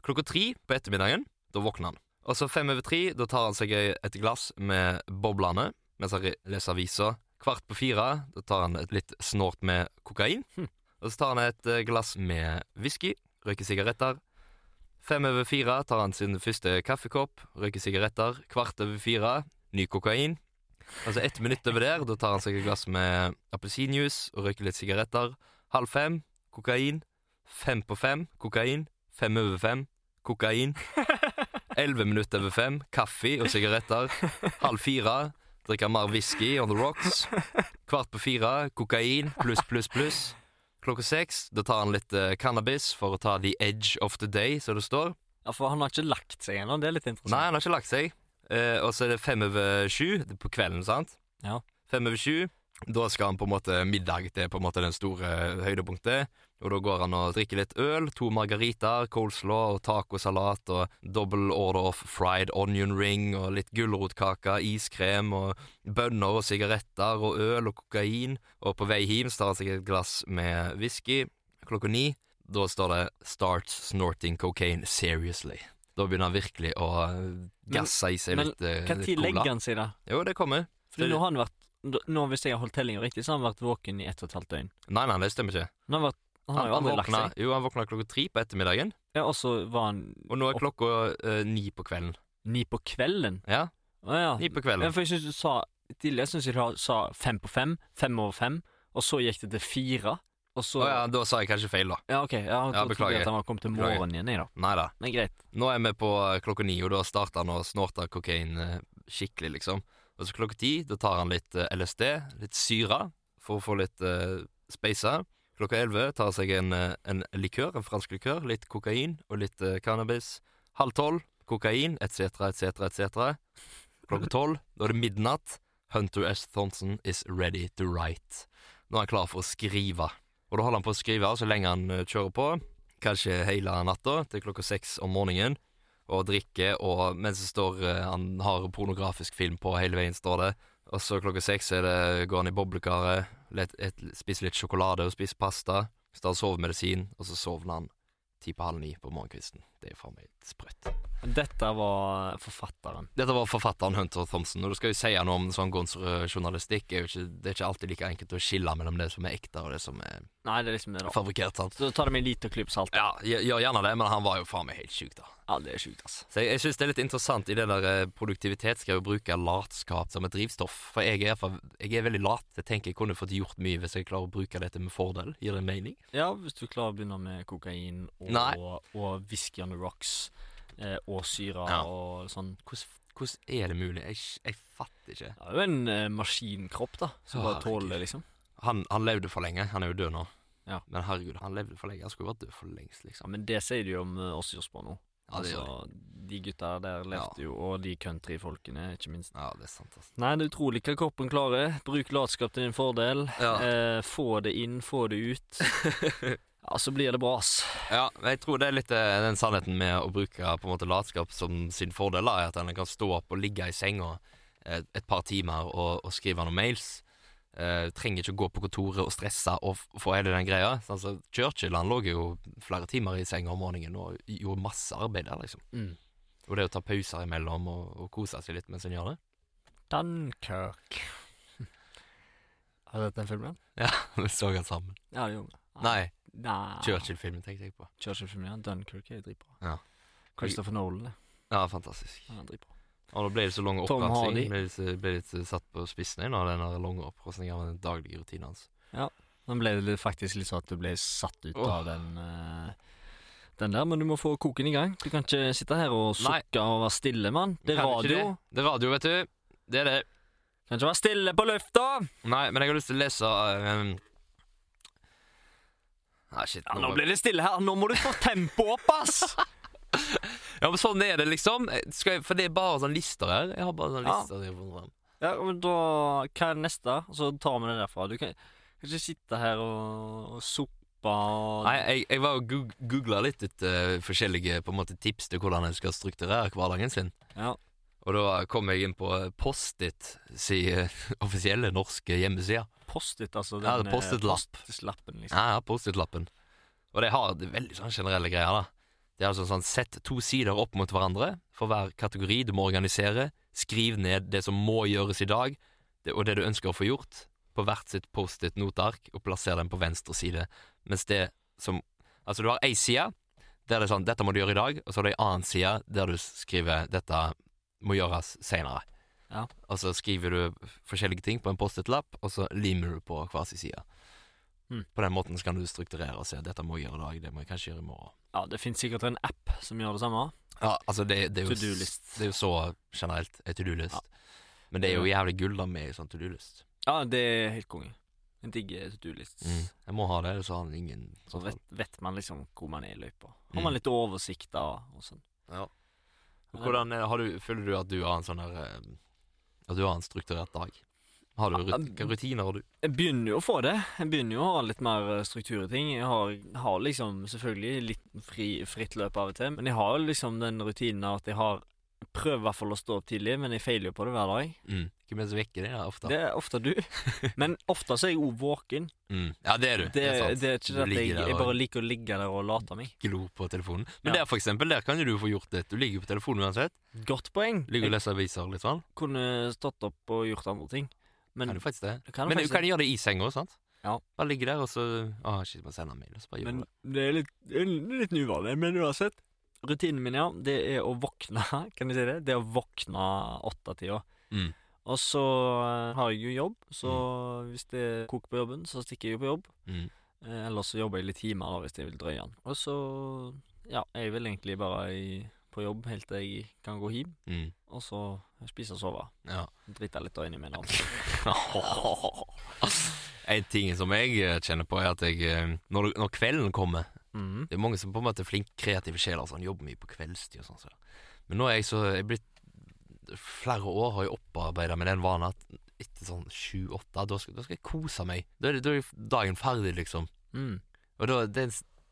Speaker 1: Klokka tre på ettermiddagen, da våkner han. Og så fem over tre, da tar han seg et glass med boblene mens han re- leser aviser. Kvart på fire, da tar han et litt snort med kokain.
Speaker 2: Hm.
Speaker 1: Og så tar han et eh, glass med whisky, røyker sigaretter. Fem over fire tar han sin første kaffekopp, røyker sigaretter. Kvart over fire, ny kokain. Altså ett minutt over der, da tar han seg et glass med appelsinjuice og røyker litt sigaretter. Halv fem, kokain. Fem på fem, kokain. Fem over fem, kokain. Elleve minutter over fem, kaffe og sigaretter. Halv fire, drikker mer whisky on the rocks. Kvart på fire, kokain pluss, pluss, pluss. Klokka seks, da tar han litt eh, cannabis for å ta the edge of the day, som det står.
Speaker 2: Ja, for han har ikke lagt seg ennå. Det er litt
Speaker 1: Nei,
Speaker 2: interessant.
Speaker 1: han har ikke lagt seg. Eh, og så er det fem over sju det er på kvelden, sant?
Speaker 2: Ja.
Speaker 1: Fem over sju. Da skal han på en måte middag til på en måte den store høydepunktet. Og da går han og drikker litt øl, to margariter, coleslaw og tacosalat og double order of fried onion ring og litt gulrotkake, iskrem og bønner og sigaretter og øl og kokain. Og på vei hjem så tar han seg et glass med whisky. Klokka ni, da står det 'Starts snorting cocaine seriously'. Da begynner han virkelig å eh, gasse i seg
Speaker 2: men
Speaker 1: litt, eh,
Speaker 2: Når
Speaker 1: litt cola.
Speaker 2: legger han seg, da?
Speaker 1: Jo, det kommer.
Speaker 2: Fordi nå har han vært nå, Hvis jeg har holdt tellinga riktig, så har han vært våken i ett og et halvt døgn.
Speaker 1: Nei, nei, det stemmer ikke.
Speaker 2: Men han, har vært, han har jo aldri lagt
Speaker 1: våkna,
Speaker 2: seg.
Speaker 1: jo, han våkna klokka tre på ettermiddagen,
Speaker 2: Ja, Og så var han
Speaker 1: og nå er
Speaker 2: Opp.
Speaker 1: klokka eh, ni på kvelden.
Speaker 2: ni på kvelden.
Speaker 1: Ja,
Speaker 2: Å ja.
Speaker 1: ni på kvelden.
Speaker 2: Ja, for jeg synes du sa Tidligere synes jeg du sa fem på fem, fem over fem, og så gikk det til fire. Og så
Speaker 1: Å ja, da sa jeg kanskje feil, da.
Speaker 2: Ja, ok. Ja, da trodde
Speaker 1: beklager.
Speaker 2: jeg at han var kommet til
Speaker 1: Beklager.
Speaker 2: morgenen igjen, jeg, da.
Speaker 1: Nei da.
Speaker 2: Men greit.
Speaker 1: Nå er vi på eh, klokka ni, og da starter han å snorte kokain eh, skikkelig, liksom. Og så klokka ti, da tar han litt eh, LSD, litt syre, for å få litt uh, space. Klokka elleve tar han seg en, eh, en likør, en fransk likør, litt kokain og litt eh, cannabis. Halv tolv, kokain, etc., etc., etc. Klokka tolv, da er det midnatt. Hunter S. Thompson is ready to write. Nå er han klar for å skrive. Og da holder han på å skrive så lenge han eh, kjører på kanskje hele natta til klokka seks om morgenen og drikker, og mens det står eh, han har pornografisk film på hele veien, står det. Og så klokka seks er det, går han i boblekaret, let, et, spiser litt sjokolade og spiser pasta. Så tar han sovemedisin, og så sovner han ti på halv ni på morgenkvisten. Det er faen meg sprøtt.
Speaker 2: Dette var forfatteren.
Speaker 1: Dette var forfatteren Hunter Thompson, og du skal jo si noe om sånn gonserjournalistikk. Det er jo ikke, det er ikke alltid like enkelt å skille mellom det som er ekte, og det som er
Speaker 2: Nei, det er liksom det, da.
Speaker 1: fabrikkert. sant?
Speaker 2: Så tar det med en liten klype salt.
Speaker 1: Ja, gjør gjør gjerne det, men han var jo faen meg helt sjuk, da.
Speaker 2: Ja, det er sjukt, altså.
Speaker 1: Så jeg, jeg synes det er litt interessant i det der eh, produktivitet skal jeg jo bruke latskap som et drivstoff. For jeg er, for, jeg er veldig lat. Jeg tenker jeg kunne fått gjort mye hvis jeg klarer å bruke dette med fordel. Gir det mening?
Speaker 2: Ja, hvis du klarer å begynne med kokain og,
Speaker 1: Nei.
Speaker 2: og whisky on the rocks eh, og syre
Speaker 1: Ja.
Speaker 2: og sånn.
Speaker 1: Hvordan, hvordan er det mulig? Jeg, sk- jeg fatter ikke.
Speaker 2: Det er jo en eh, maskinkropp, da, som
Speaker 1: Å,
Speaker 2: bare
Speaker 1: herregud.
Speaker 2: tåler det, liksom.
Speaker 1: Han, han levde for lenge. Han er jo død nå.
Speaker 2: Ja.
Speaker 1: Men herregud, han levde for lenge. Han skulle jo vært død for lengst,
Speaker 2: Ja,
Speaker 1: liksom.
Speaker 2: men det sier du jo om eh, oss i Osborne nå.
Speaker 1: Ja, det, gjør det.
Speaker 2: altså, de gutta der levde jo, og de countryfolkene, ikke minst.
Speaker 1: ja, det er sant, altså.
Speaker 2: Nei, det er utrolig hva kroppen klarer. Bruk latskap til din fordel.
Speaker 1: Ja.
Speaker 2: Eh, få det inn, få det ut. ja, så blir det bra, ass.
Speaker 1: ja, men jeg tror det er litt eh, den sannheten med å bruke på en måte latskap som sin fordel, da, er at en kan stå opp og ligge i senga et, et par timer og, og skrive noen mails. Eh, trenger ikke å gå på kontoret og stresse og f- få hele den greia. Sånn, som Churchill han lå jo flere timer i senga om morgenen og gjorde masse arbeid der, liksom.
Speaker 2: Mm.
Speaker 1: Og det å ta pauser imellom og, og kose seg litt mens en gjør det.
Speaker 2: Dunkirk. Har du sett den filmen?
Speaker 1: Vi så han sammen.
Speaker 2: Ja, det gjorde vi.
Speaker 1: Nei,
Speaker 2: Nei.
Speaker 1: Churchill-filmen tenkte jeg på.
Speaker 2: Churchill-filmen, ja. Dunkirk er dritbra.
Speaker 1: Ja.
Speaker 2: Christopher Nolan, det.
Speaker 1: Ja, fantastisk.
Speaker 2: Ja, han er dritbra.
Speaker 1: Og da ble det så lang
Speaker 2: Tom
Speaker 1: oppramsing.
Speaker 2: Hardy.
Speaker 1: Ble, litt- ble litt eh, satt på spissen igjen av den der lange oppramsingen av den daglige rutinen hans.
Speaker 2: Nå ble det litt- faktisk litt sånn at du ble satt ut
Speaker 1: Åh.
Speaker 2: av den eh, den der, men du må få koken i gang. Du kan ikke sitte her og
Speaker 1: Nei.
Speaker 2: sukke og være stille, mann. Det er
Speaker 1: Kan ikke
Speaker 2: radio.
Speaker 1: Det. det er radio, vet du. Det er det.
Speaker 2: Kan ikke være stille på lufta!
Speaker 1: Nei, men jeg har lyst til å lese um... Nei, shit.
Speaker 2: Ja, nå
Speaker 1: bare-
Speaker 2: ble det stille her. Nå må du få tempoet opp, ass!
Speaker 1: Ja, men sånn er det, liksom. Skal jeg, for det er bare sånn lister her. Jeg har bare sånn
Speaker 2: Ja.
Speaker 1: lister. jeg har funnet frem.
Speaker 2: ja, men da Hva er neste? Så tar vi det derfra. Du kan kan ikke sitte her og, og suppe og
Speaker 1: Nei, jeg, jeg var og goog- eh, googla litt etter forskjellige på en måte, tips til hvordan en skal strukturere hverdagen sin.
Speaker 2: Ja.
Speaker 1: Og da kom jeg inn på Post-It si eh, offisielle norske hjemmeside.
Speaker 2: Post-it, altså.
Speaker 1: Ja,
Speaker 2: den, eh,
Speaker 1: Post-it-lapp.
Speaker 2: Post-it-lappen, liksom.
Speaker 1: Ja, ja, Post-It-lappen. Og de har veldig sånn generelle greier, da. Det er altså sånn sett to sider opp mot hverandre for hver kategori du må organisere. Skriv ned det som må gjøres i dag, det, og det du ønsker å få gjort, på hvert sitt Post-It-noteark, og plasser dem på venstre side. Mens det som Altså, du har ei side der det er sånn 'Dette må du gjøre i dag', og så har du ei annen side der du skriver 'Dette må gjøres seinere'.
Speaker 2: Ja.
Speaker 1: Og så skriver du forskjellige ting på en Post-It-lapp, og så limer du på hver sin side.
Speaker 2: Mm.
Speaker 1: På den måten så kan du strukturere og se 'Dette må jeg gjøre i dag', 'Det må jeg kanskje gjøre i morgen'.
Speaker 2: Ja, det finnes sikkert en app som gjør det samme.
Speaker 1: Ja, altså det, det er jo
Speaker 2: To-do-list.
Speaker 1: Det er jo så generelt ei to-do-list.
Speaker 2: Ja.
Speaker 1: Men det er jo jævlig gull da med ei sånn to-do-list.
Speaker 2: Ja, det er helt konge. En digg eh, to-do-list.
Speaker 1: Jeg må ha det, ellers har han ingen sånn
Speaker 2: Så
Speaker 1: kontroll.
Speaker 2: vet, vet man liksom hvor man er i løypa.
Speaker 1: Mm.
Speaker 2: Har man litt oversikt da, og sånn.
Speaker 1: Ja. Hvordan eh, har du, Føler du at du har en sånn her eh, At du har en strukturert dag? Har du
Speaker 2: Ja,
Speaker 1: rut hvilke rutiner? har du?
Speaker 2: Jeg begynner jo å få det. Jeg begynner jo å ha litt mer eh, struktur i ting. Jeg har, har liksom selvfølgelig litt fri, fritt løp av og til, men jeg har jo liksom den rutinen av at jeg har jeg prøver i hvert fall å stå opp tidlig, men jeg feiler jo på det hver dag.
Speaker 1: Mm. Hvem er det som vekker deg da, ofte?
Speaker 2: Det er ofte du. Men ofte så er jeg òg våken.
Speaker 1: Mm. Ja, det er du.
Speaker 2: Det, det, er,
Speaker 1: sant.
Speaker 2: ikke
Speaker 1: Du
Speaker 2: det at jeg,
Speaker 1: ligger der
Speaker 2: jeg
Speaker 1: og
Speaker 2: bare liker å ligge der og late meg.
Speaker 1: glor på telefonen. Men
Speaker 2: Ja.
Speaker 1: der, for eksempel, der kan jo du få gjort det. Du ligger jo på telefonen uansett.
Speaker 2: Godt poeng.
Speaker 1: Ligger og
Speaker 2: Jeg
Speaker 1: leser aviser og litt sånn.
Speaker 2: kunne stått opp og gjort andre ting. Men,
Speaker 1: Kan du faktisk det?
Speaker 2: Jeg kan
Speaker 1: Men du
Speaker 2: faktisk
Speaker 1: kan gjøre det i senga, sant?
Speaker 2: Ja.
Speaker 1: Bare ligge der, og så Å, shit, må sende en mail, og så bare gjør
Speaker 2: Men
Speaker 1: du det.
Speaker 2: det er litt, det er litt uvanlig, men uansett. Rutinen min, ja, det er å våkne, kan jeg si det? Det er å våkne åttetida.
Speaker 1: Mm.
Speaker 2: Og så eh, har jeg jo jobb, så hvis det er kok på jobben, så stikker jeg jo på jobb.
Speaker 1: Mm.
Speaker 2: Eh, Ellers så jobber jeg litt timer da, hvis jeg vil drøye den. Og så, ja, jeg vil egentlig bare i, på jobb helt til jeg kan gå hjem,
Speaker 1: Mm.
Speaker 2: og så spise og sove.
Speaker 1: Ja.
Speaker 2: Drite litt da innimellom.
Speaker 1: En ting som jeg eh, kjenner på, er at jeg eh, Når, når kvelden kommer
Speaker 2: Mhm.
Speaker 1: Det er mange som på en måte er flinke, kreative sjeler sånn, Jobber mye på kveldstid og sånn så. Men nå er jeg så jeg er blitt Flere år har jeg opparbeidet med den vanen At etter sånn 7-8 da, skal- da skal jeg kose meg Da er, det, da er dagen ferdig liksom
Speaker 2: Mm.
Speaker 1: Og da, det,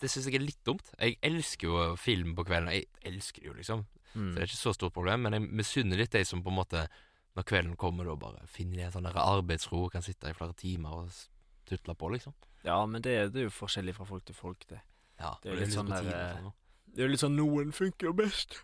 Speaker 1: det synes jeg er litt dumt Jeg elsker jo film på kvelden Jeg elsker det jo liksom
Speaker 2: Mm.
Speaker 1: så det er ikke så stort problem, men jeg misunner litt de som på en måte, når kvelden kommer, da bare finner de en sånn der arbeidsro og kan sitte i flere timer og s- tutle på, liksom.
Speaker 2: Ja, men det, det er jo forskjellig fra folk til folk, det.
Speaker 1: Ja,
Speaker 2: Det er
Speaker 1: og
Speaker 2: litt
Speaker 1: liksom
Speaker 2: sånn
Speaker 1: på
Speaker 2: der,
Speaker 1: tide og
Speaker 2: eh,
Speaker 1: sånn, da.
Speaker 2: Det er jo litt sånn Noen funker jo best.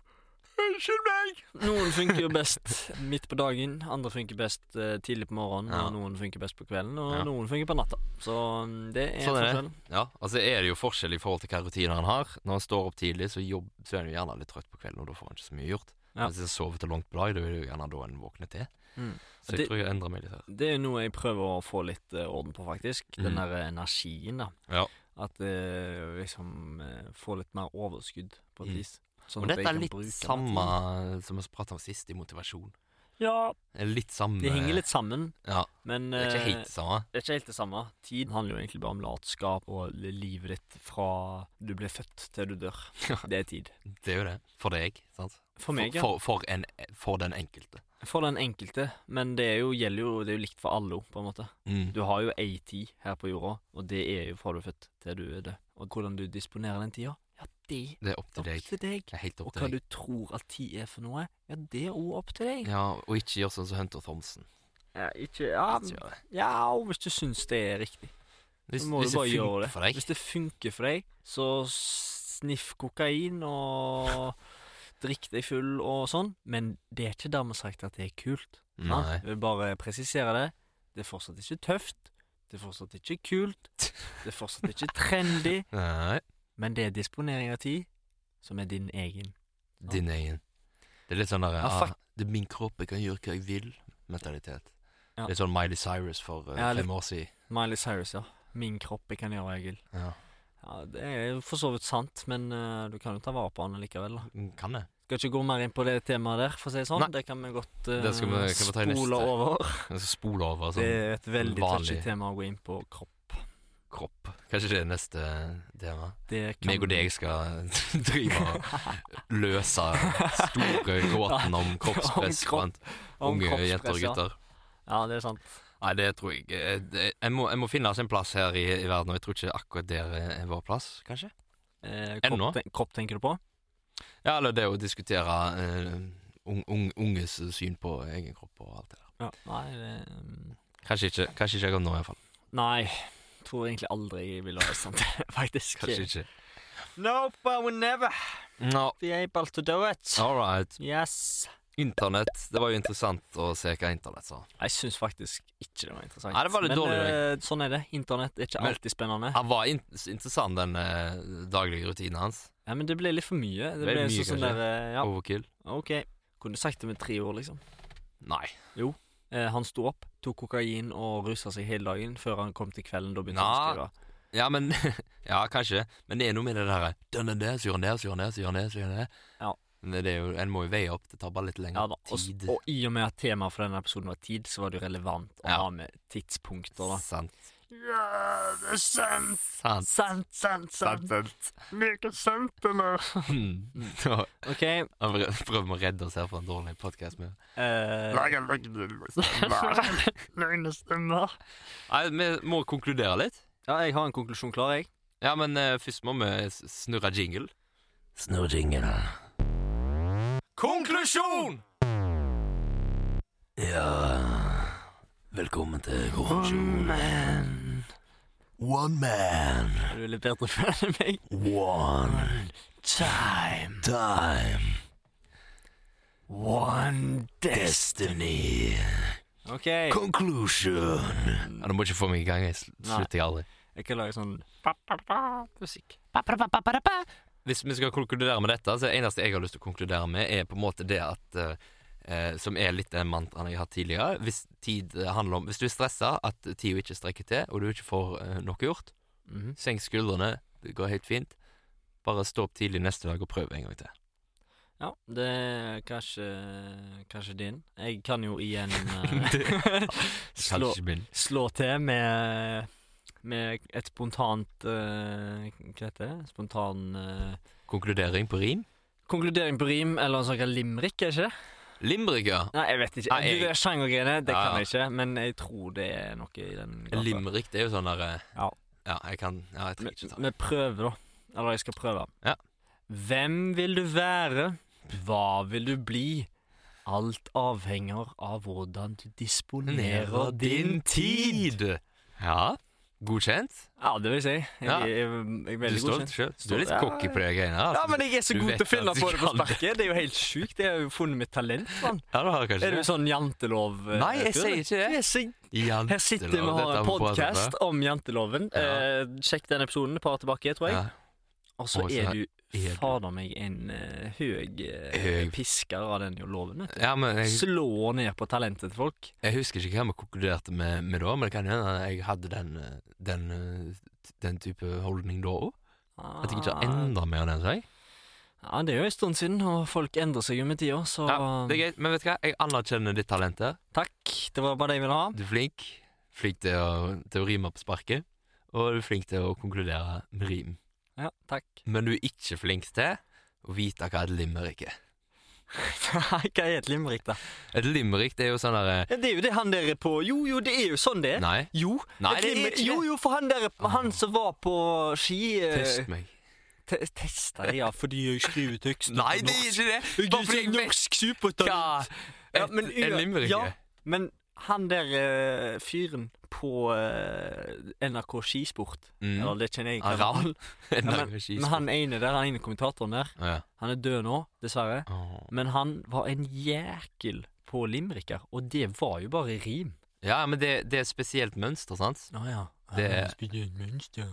Speaker 2: Unnskyld meg! Noen funker jo best midt på dagen, andre funker best eh, tidlig på morgenen,
Speaker 1: Ja.
Speaker 2: og noen funker best på kvelden, og
Speaker 1: Ja.
Speaker 2: noen funker på natta. Så mm, det er
Speaker 1: Sånn er det.
Speaker 2: forskjell.
Speaker 1: Ja, altså er det jo forskjell i forhold til hva rutiner han har. Når han står opp tidlig, så, jobb, så er han jo gjerne litt trøtt på kvelden, og da får han ikke så mye gjort.
Speaker 2: Ja.
Speaker 1: Hvis han sover til langt på dag, da er det jo gjerne da en våkner til.
Speaker 2: Mm.
Speaker 1: Så jeg
Speaker 2: Det-
Speaker 1: tror jeg endrer meg litt her.
Speaker 2: Det er jo noe jeg prøver å få litt eh, orden på, faktisk.
Speaker 1: Mhm.
Speaker 2: Den der energien, da.
Speaker 1: Ja.
Speaker 2: At eh, liksom eh, Få litt mer overskudd, på
Speaker 1: Mhm.
Speaker 2: et vis.
Speaker 1: og
Speaker 2: Sånn at jeg
Speaker 1: dette er
Speaker 2: kan
Speaker 1: litt
Speaker 2: bruke den
Speaker 1: samme
Speaker 2: tiden.
Speaker 1: som vi pratet om sist, i motivasjon.
Speaker 2: Ja,
Speaker 1: Det er Litt samme
Speaker 2: de henger litt sammen,
Speaker 1: Ja,
Speaker 2: men
Speaker 1: det er ikke
Speaker 2: eh,
Speaker 1: helt samme.
Speaker 2: Det er ikke helt det samme. Tid handler jo egentlig bare om latskap og livet ditt fra du ble født til du dør. Det er tid.
Speaker 1: Det er jo det. For deg, sant?
Speaker 2: For meg, ja.
Speaker 1: for, for, en, for den enkelte.
Speaker 2: For den enkelte. Men det er jo, gjelder jo, det er jo likt for alle, på en måte.
Speaker 1: Mm.
Speaker 2: Du har jo ei tid her på jorda, og det er jo fra du er født til du er død. Og hvordan du disponerer den tida, ja, det er
Speaker 1: Det er opp til
Speaker 2: opp
Speaker 1: deg.
Speaker 2: til deg.
Speaker 1: Det er helt opp
Speaker 2: Og hva
Speaker 1: til deg.
Speaker 2: du tror at tid er for noe, ja, det er òg opp til deg.
Speaker 1: Ja, og ikke gjør sånn som Hunter Thompson.
Speaker 2: Ja, ikke, ja,
Speaker 1: Ikke gjør det.
Speaker 2: ja, og hvis du syns det er riktig.
Speaker 1: Hvis,
Speaker 2: Så må
Speaker 1: hvis
Speaker 2: du
Speaker 1: det
Speaker 2: bare gjøre
Speaker 1: funker
Speaker 2: det.
Speaker 1: for deg.
Speaker 2: Hvis det funker for deg, så sniff kokain og drikk deg full og sånn. Men det er ikke dermed sagt at det er kult. Ja?
Speaker 1: Nei.
Speaker 2: Jeg vil bare presisere det. Det er fortsatt ikke tøft. Det er fortsatt ikke kult. Det er fortsatt ikke trendy.
Speaker 1: Nei.
Speaker 2: Men det er disponering av tid som er din egen.
Speaker 1: Din egen. Det er litt sånn der
Speaker 2: Ja,
Speaker 1: ah,
Speaker 2: fuck.
Speaker 1: det er min kropp, jeg kan gjøre hva jeg vil-mentalitet.
Speaker 2: Ja.
Speaker 1: Litt sånn Miley Cyrus for eh,
Speaker 2: Ja, litt-
Speaker 1: fem år siden.
Speaker 2: Miley Cyrus, ja. Min kropp, jeg kan gjøre hva jeg vil.
Speaker 1: Ja.
Speaker 2: Ja, Det er jo for så vidt sant, men eh, du kan jo ta vare på han likevel, da.
Speaker 1: Mm, Kan det.
Speaker 2: Skal ikke gå mer inn på det temaet der, for å si det sånn.
Speaker 1: Nei.
Speaker 2: Det kan vi godt eh,
Speaker 1: Det skal vi- kan vi ta i neste.
Speaker 2: spole over.
Speaker 1: Jeg skal spole over
Speaker 2: Det
Speaker 1: sånn
Speaker 2: er et veldig touchy
Speaker 1: vanlig.
Speaker 2: tema å gå inn på kropp.
Speaker 1: kropp. Kanskje det er neste tema.
Speaker 2: Det kan
Speaker 1: Meg og deg skal drive og løse store gåten om kroppspress
Speaker 2: Om kropp-
Speaker 1: blant
Speaker 2: Om
Speaker 1: unge
Speaker 2: kroppspress,
Speaker 1: jenter og
Speaker 2: ja.
Speaker 1: gutter.
Speaker 2: Ja, det er sant.
Speaker 1: Nei, det tror jeg eh, det, jeg, må, jeg må finne oss en plass her i, i verden, og jeg tror ikke akkurat der eh, er vår plass, kanskje?
Speaker 2: Eh,
Speaker 1: Ennå?
Speaker 2: kropp, ten kropp tenker du på?
Speaker 1: Ja, eller det å diskutere eh, un, un, unges syn på egen kropp og alt det der.
Speaker 2: Ja. Nei, det, mm,
Speaker 1: Kanskje ikke, kanskje ikke akkurat nå, iallfall.
Speaker 2: nei, tror egentlig aldri jeg ville ha sånt, faktisk.
Speaker 1: Kanskje ikke.
Speaker 2: Nope, I will never
Speaker 1: No.
Speaker 2: be able to do it.
Speaker 1: All right.
Speaker 2: Yes.
Speaker 1: Internett. Det var jo interessant å se hva internett sa.
Speaker 2: Jeg syns faktisk ikke det var interessant.
Speaker 1: Nei, det var litt
Speaker 2: Men
Speaker 1: dårlig,
Speaker 2: eh, sånn er det. Internett er ikke
Speaker 1: Men-
Speaker 2: alltid spennende.
Speaker 1: Han var in interessant, den eh, daglige rutinen hans.
Speaker 2: Ja, Men det ble litt for mye. Det
Speaker 1: Ble
Speaker 2: ble
Speaker 1: mye,
Speaker 2: sånn, sånn
Speaker 1: kanskje.
Speaker 2: der eh, Ja,
Speaker 1: Overkill.
Speaker 2: OK. Kunne sagt det med tre ord, liksom.
Speaker 1: Nei.
Speaker 2: Eh, han sto opp, tok kokain og rusa seg hele dagen før han kom til kvelden. Da begynte han
Speaker 1: Nei.
Speaker 2: å skrive.
Speaker 1: Ja, men Ja, kanskje. Men det er noe med det derre Dønn den der, så gjør han det, så gjør han det, så gjør han det. så gjør han det.
Speaker 2: Ja.
Speaker 1: Men det er jo, En må jo veie opp. Det tar bare litt
Speaker 2: Ja,
Speaker 1: lengre
Speaker 2: da. Og, s-
Speaker 1: tid.
Speaker 2: og i og med at temaet for denne episoden var tid, så var det jo relevant å
Speaker 1: Ja.
Speaker 2: ha med tidspunkter, da.
Speaker 1: Sant.
Speaker 2: Ja, det er sant!
Speaker 1: Sant.
Speaker 2: Sant, sant, sant. Like sant, eller?
Speaker 1: Mm. Nå,
Speaker 2: OK.
Speaker 1: Han prø- prøver å redde oss her fra en dårlig podkast. Nei,
Speaker 2: eh,
Speaker 1: vi må konkludere litt.
Speaker 2: ja, jeg har en konklusjon klar, jeg.
Speaker 1: Ja, men eh, først må vi s- snurre jingle. Snurre jingle. Konklusjon! Ja Velkommen til konklusjon. One man.
Speaker 2: Er du litt bedre fan enn meg?
Speaker 1: One
Speaker 2: Time.
Speaker 1: time.
Speaker 2: One
Speaker 1: Destiny.
Speaker 2: OK.
Speaker 1: Conclusion. Ja, du må ikke få meg i gang. Jeg sl-
Speaker 2: Nei.
Speaker 1: slutter jeg aldri.
Speaker 2: Jeg kan lage sånn
Speaker 1: musikk. Hvis vi skal konkludere med dette, så det eneste jeg har lyst til å konkludere med, er på en måte det at eh, eh, Som er litt den mantraen jeg har hatt tidligere. Hvis tid eh, handler om Hvis du er stressa, at tida ikke strekker til, og du ikke får eh, noe gjort,
Speaker 2: Mhm.
Speaker 1: senk skuldrene, det går helt fint. Bare stå opp tidlig neste dag og prøv en gang til.
Speaker 2: Ja, det er kanskje, kanskje din. Jeg kan jo igjen eh, slå,
Speaker 1: Kanskje min.
Speaker 2: slå til med, med et spontant eh, Hva heter det? Spontan eh,
Speaker 1: Konkludering på rim?
Speaker 2: konkludering på rim, eller en såkalt limerick, er ikke det?
Speaker 1: Limericker.
Speaker 2: Nei, jeg vet ikke.
Speaker 1: Nei, jeg-
Speaker 2: Du, det er Sjangergreiene, det
Speaker 1: Ja,
Speaker 2: kan
Speaker 1: ja.
Speaker 2: jeg ikke, men jeg tror det er noe i den gata.
Speaker 1: Limerick, det er jo sånn der eh,
Speaker 2: Ja.
Speaker 1: ja, jeg kan Ja, jeg trenger
Speaker 2: Vi
Speaker 1: ikke ta
Speaker 2: vi prøver, da. Eller jeg skal prøve.
Speaker 1: Ja.
Speaker 2: Hvem vil du være? Hva vil du bli? Alt avhenger av hvordan du disponerer din tid.
Speaker 1: Ja. Godkjent.
Speaker 2: Ja, det vil jeg si. Jeg,
Speaker 1: Ja.
Speaker 2: jeg, jeg, jeg er
Speaker 1: Du
Speaker 2: veldig
Speaker 1: står,
Speaker 2: godkjent.
Speaker 1: selv. du
Speaker 2: Står-
Speaker 1: er litt
Speaker 2: Ja.
Speaker 1: cocky på de greiene her.
Speaker 2: Ja,
Speaker 1: altså.
Speaker 2: men jeg er så
Speaker 1: Du
Speaker 2: god
Speaker 1: vet
Speaker 2: til å finne
Speaker 1: at du
Speaker 2: på det på
Speaker 1: kan det.
Speaker 2: sparket. Det er jo helt sjukt. Jeg har jo funnet mitt talent. Man.
Speaker 1: Ja, du har kanskje
Speaker 2: Er du
Speaker 1: det.
Speaker 2: sånn jantelov? eh,
Speaker 1: Nei, jeg
Speaker 2: fyr?
Speaker 1: sier ikke det.
Speaker 2: Jeg er så
Speaker 1: Jantelov,
Speaker 2: Her sitter vi og har
Speaker 1: dette
Speaker 2: en
Speaker 1: må prate om.
Speaker 2: podkast om janteloven.
Speaker 1: Ja.
Speaker 2: Eh, sjekk den episoden et par tilbake, tror jeg.
Speaker 1: Ja.
Speaker 2: Og så
Speaker 1: Og så
Speaker 2: er
Speaker 1: er-
Speaker 2: du
Speaker 1: er du-
Speaker 2: fader meg en eh, høg eh,
Speaker 1: Høg.
Speaker 2: pisker av den jo loven. vet du.
Speaker 1: Ja, men jeg,
Speaker 2: Slår ned på talentet til folk.
Speaker 1: jeg husker ikke hva vi konkluderte med, med da, men det kan hende jeg hadde den, eh, den, eh, den type holdning da òg. At jeg ikke har enda mer av den, sa jeg.
Speaker 2: Ah. Ja, Det er jo en stund siden, og folk endrer seg jo med tida, så
Speaker 1: Ja, det er greit, men vet du hva? Jeg anerkjenner ditt talent her.
Speaker 2: takk. Det var bare det jeg ville ha.
Speaker 1: Du er flink. Flink til å, til å rime på sparket. Og du er flink til å konkludere med rim.
Speaker 2: Ja, takk.
Speaker 1: Men du er ikke flink til å vite hva et limerick er.
Speaker 2: Nei, Hva er et limerick, da?
Speaker 1: Et limerick det er jo sånn derre
Speaker 2: Ja, Det er jo det han der er på Jo, jo, det er jo sånn det er.
Speaker 1: Nei.
Speaker 2: Jo.
Speaker 1: Nei,
Speaker 2: et
Speaker 1: det er
Speaker 2: limerick-
Speaker 1: ikke
Speaker 2: jo,
Speaker 1: det.
Speaker 2: jo, for han der Han som var på ski eh,
Speaker 1: Test meg.
Speaker 2: te Testa det, ja, fordi jeg skriver tekster
Speaker 1: Nei,
Speaker 2: på
Speaker 1: det er
Speaker 2: norsk.
Speaker 1: ikke det! Bare fordi jeg vet
Speaker 2: norsk supertalent.
Speaker 1: hva
Speaker 2: Ja,
Speaker 1: et-
Speaker 2: men
Speaker 1: en
Speaker 2: ua-
Speaker 1: limerick
Speaker 2: ja.
Speaker 1: er.
Speaker 2: Men han der eh, fyren på eh, NRK Skisport
Speaker 1: Mm.
Speaker 2: Eller det kjenner jeg
Speaker 1: Ah,
Speaker 2: kanalen.
Speaker 1: Ravn? En
Speaker 2: Ja,
Speaker 1: dag med
Speaker 2: Men
Speaker 1: skisport.
Speaker 2: han ene der, han ene kommentatoren der,
Speaker 1: Ja.
Speaker 2: han er død nå, dessverre.
Speaker 1: Åh.
Speaker 2: Men han var en jækel på limericker, og det var jo bare rim.
Speaker 1: ja, men det, det er et spesielt mønster, sant?
Speaker 2: Å ja.
Speaker 1: Det- Ja, det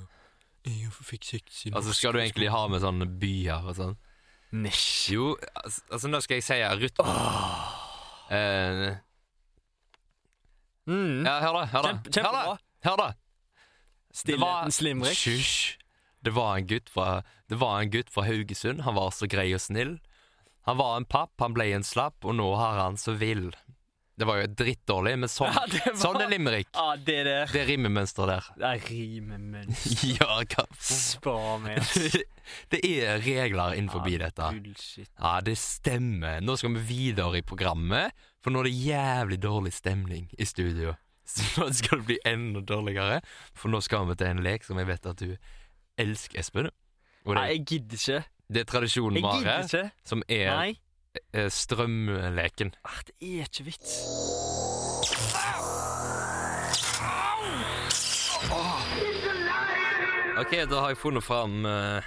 Speaker 1: Altså, skal du egentlig ha med sånne byer og sånn?
Speaker 2: Nisj.
Speaker 1: Jo, altså, altså nå skal jeg si rytme. Eh,
Speaker 2: Mm.
Speaker 1: ja, hør da, hør da.
Speaker 2: Kjempe-
Speaker 1: Hør da,
Speaker 2: kjempebra.
Speaker 1: hør da.
Speaker 2: Stillhetens limerick.
Speaker 1: Hysj. Det var en gutt fra Det var en gutt fra Haugesund. Han var så grei og snill. Han var en papp, han ble en slapp, og nå har han så vill. Det var jo drittdårlig, men sånn,
Speaker 2: Ja, det var-
Speaker 1: sånn er limerick.
Speaker 2: Ja, det der.
Speaker 1: Det rimemønsteret der.
Speaker 2: Det er rimemønster.
Speaker 1: ja, hva f-
Speaker 2: Spar meg. ass.
Speaker 1: Det er regler innenfor
Speaker 2: Ja,
Speaker 1: dette.
Speaker 2: Bullshit.
Speaker 1: Ja, det stemmer. Nå skal vi videre i programmet, for nå er det jævlig dårlig stemning i studio. Så nå skal det bli enda dårligere, for nå skal vi til en lek som jeg vet at du elsker, Espen. Og
Speaker 2: Nei,
Speaker 1: det,
Speaker 2: jeg gidder ikke.
Speaker 1: det er tradisjonen
Speaker 2: Jeg
Speaker 1: vi har
Speaker 2: gidder
Speaker 1: her,
Speaker 2: ikke.
Speaker 1: som er
Speaker 2: Nei.
Speaker 1: eh, strømleken.
Speaker 2: Ah, det er ikke vits.
Speaker 1: Ok, da har jeg funnet fram eh,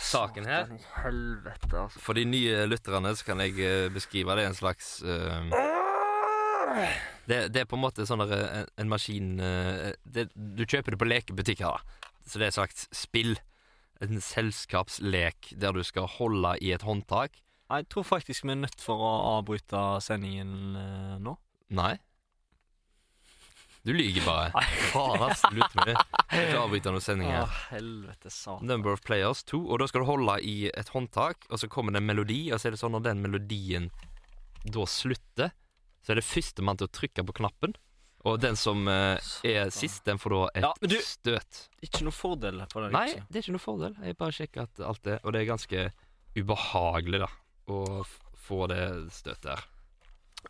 Speaker 1: saken her.
Speaker 2: Helvete, altså.
Speaker 1: For de nye lytterne så kan jeg eh, beskrive det en slags eh, det, det er på en måte sånn der, eh, en, en maskin eh, det, Du kjøper det på lekebutikker, da. Så det er et slags spill. En selskapslek der du skal holde i et håndtak.
Speaker 2: Jeg tror faktisk vi er nødt for å avbryte sendingen eh, nå.
Speaker 1: Nei. Du lyver bare.
Speaker 2: Nei.
Speaker 1: Faen, ass. Slutt med det. Jeg kan ikke avbryte noen sending her.
Speaker 2: Å, helvete satan.
Speaker 1: Number of players 2, og da skal du holde i et håndtak, og så kommer det en melodi, og så er det sånn når den melodien da slutter, så er det førstemann til å trykke på knappen, og den som eh, er sist, den får da et
Speaker 2: Ja, men du-
Speaker 1: støt.
Speaker 2: Ikke noe fordel på det.
Speaker 1: Nei,
Speaker 2: liksom.
Speaker 1: det er ikke noe fordel. Jeg bare sjekker at alt det, og det er ganske ubehagelig da, å f- få det støtet der.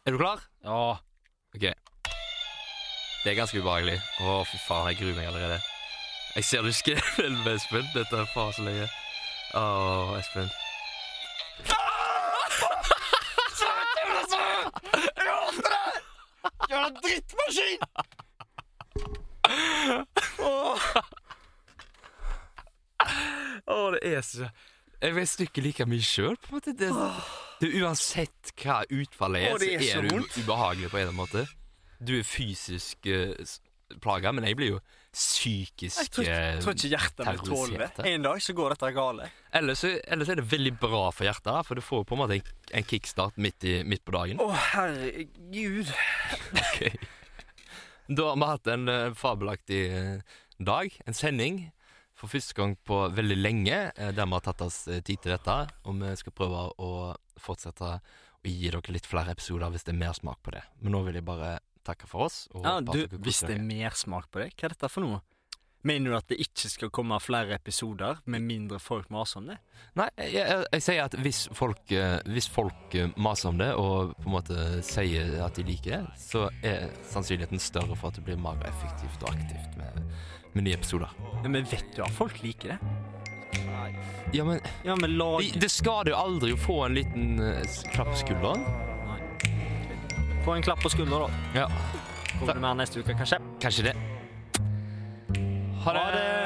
Speaker 1: Er du klar?
Speaker 2: Ja.
Speaker 1: Ok. Det er ganske ubehagelig. Å, fy faen, jeg gruer meg allerede. Jeg ser du ikke skjelver, Espen. Dette er faen så lenge. Å, Espen.
Speaker 2: Jævla drittmaskin!
Speaker 1: Å, det er så Jeg vet ikke like mye sjøl, på en måte. Det, det, er uansett hva utfallet er,
Speaker 2: Å, det er
Speaker 1: så
Speaker 2: så
Speaker 1: er du
Speaker 2: vondt.
Speaker 1: ubehagelig på en eller annen måte. Du er fysisk eh, s- plaga, men jeg blir jo psykisk
Speaker 2: Jeg tror,
Speaker 1: eh,
Speaker 2: ikke- tror ikke hjertet mitt tåler det.
Speaker 1: terroriserte.
Speaker 2: En dag så går dette gale.
Speaker 1: Ellers, ellers er det veldig bra for hjertet, da, for du får på en måte en, en kickstart midt, i, midt på dagen.
Speaker 2: Å, herregud.
Speaker 1: Ok. Da har vi hatt en eh, fabelaktig eh, dag, en sending, for første gang på veldig lenge, eh, der vi har tatt oss eh, tid til dette, og vi skal prøve å fortsette å gi dere litt flere episoder hvis det er mer smak på det. Men nå vil jeg bare takke for oss. Og
Speaker 2: Ja,
Speaker 1: håpe at
Speaker 2: du,
Speaker 1: dere koser
Speaker 2: hvis det er
Speaker 1: dere.
Speaker 2: mer smak på det, hva er dette for noe? Mener du at det ikke skal komme flere episoder med mindre folk maser om det?
Speaker 1: Nei, jeg, jeg, jeg sier at hvis folk, eh, hvis folk eh, maser om det, og på en måte sier at de liker det, så er sannsynligheten større for at det blir mer effektivt og aktivt med, med nye episoder.
Speaker 2: Ja, men vet du at folk liker det?
Speaker 1: Ja, men...
Speaker 2: Ja, men lag
Speaker 1: Det, det skader jo aldri å få en liten eh, s- klapp på skulderen.
Speaker 2: Få en klapp på skulderen, da.
Speaker 1: Ja,
Speaker 2: Kommer det mer neste uke, kanskje?
Speaker 1: kanskje det.
Speaker 2: Ha det!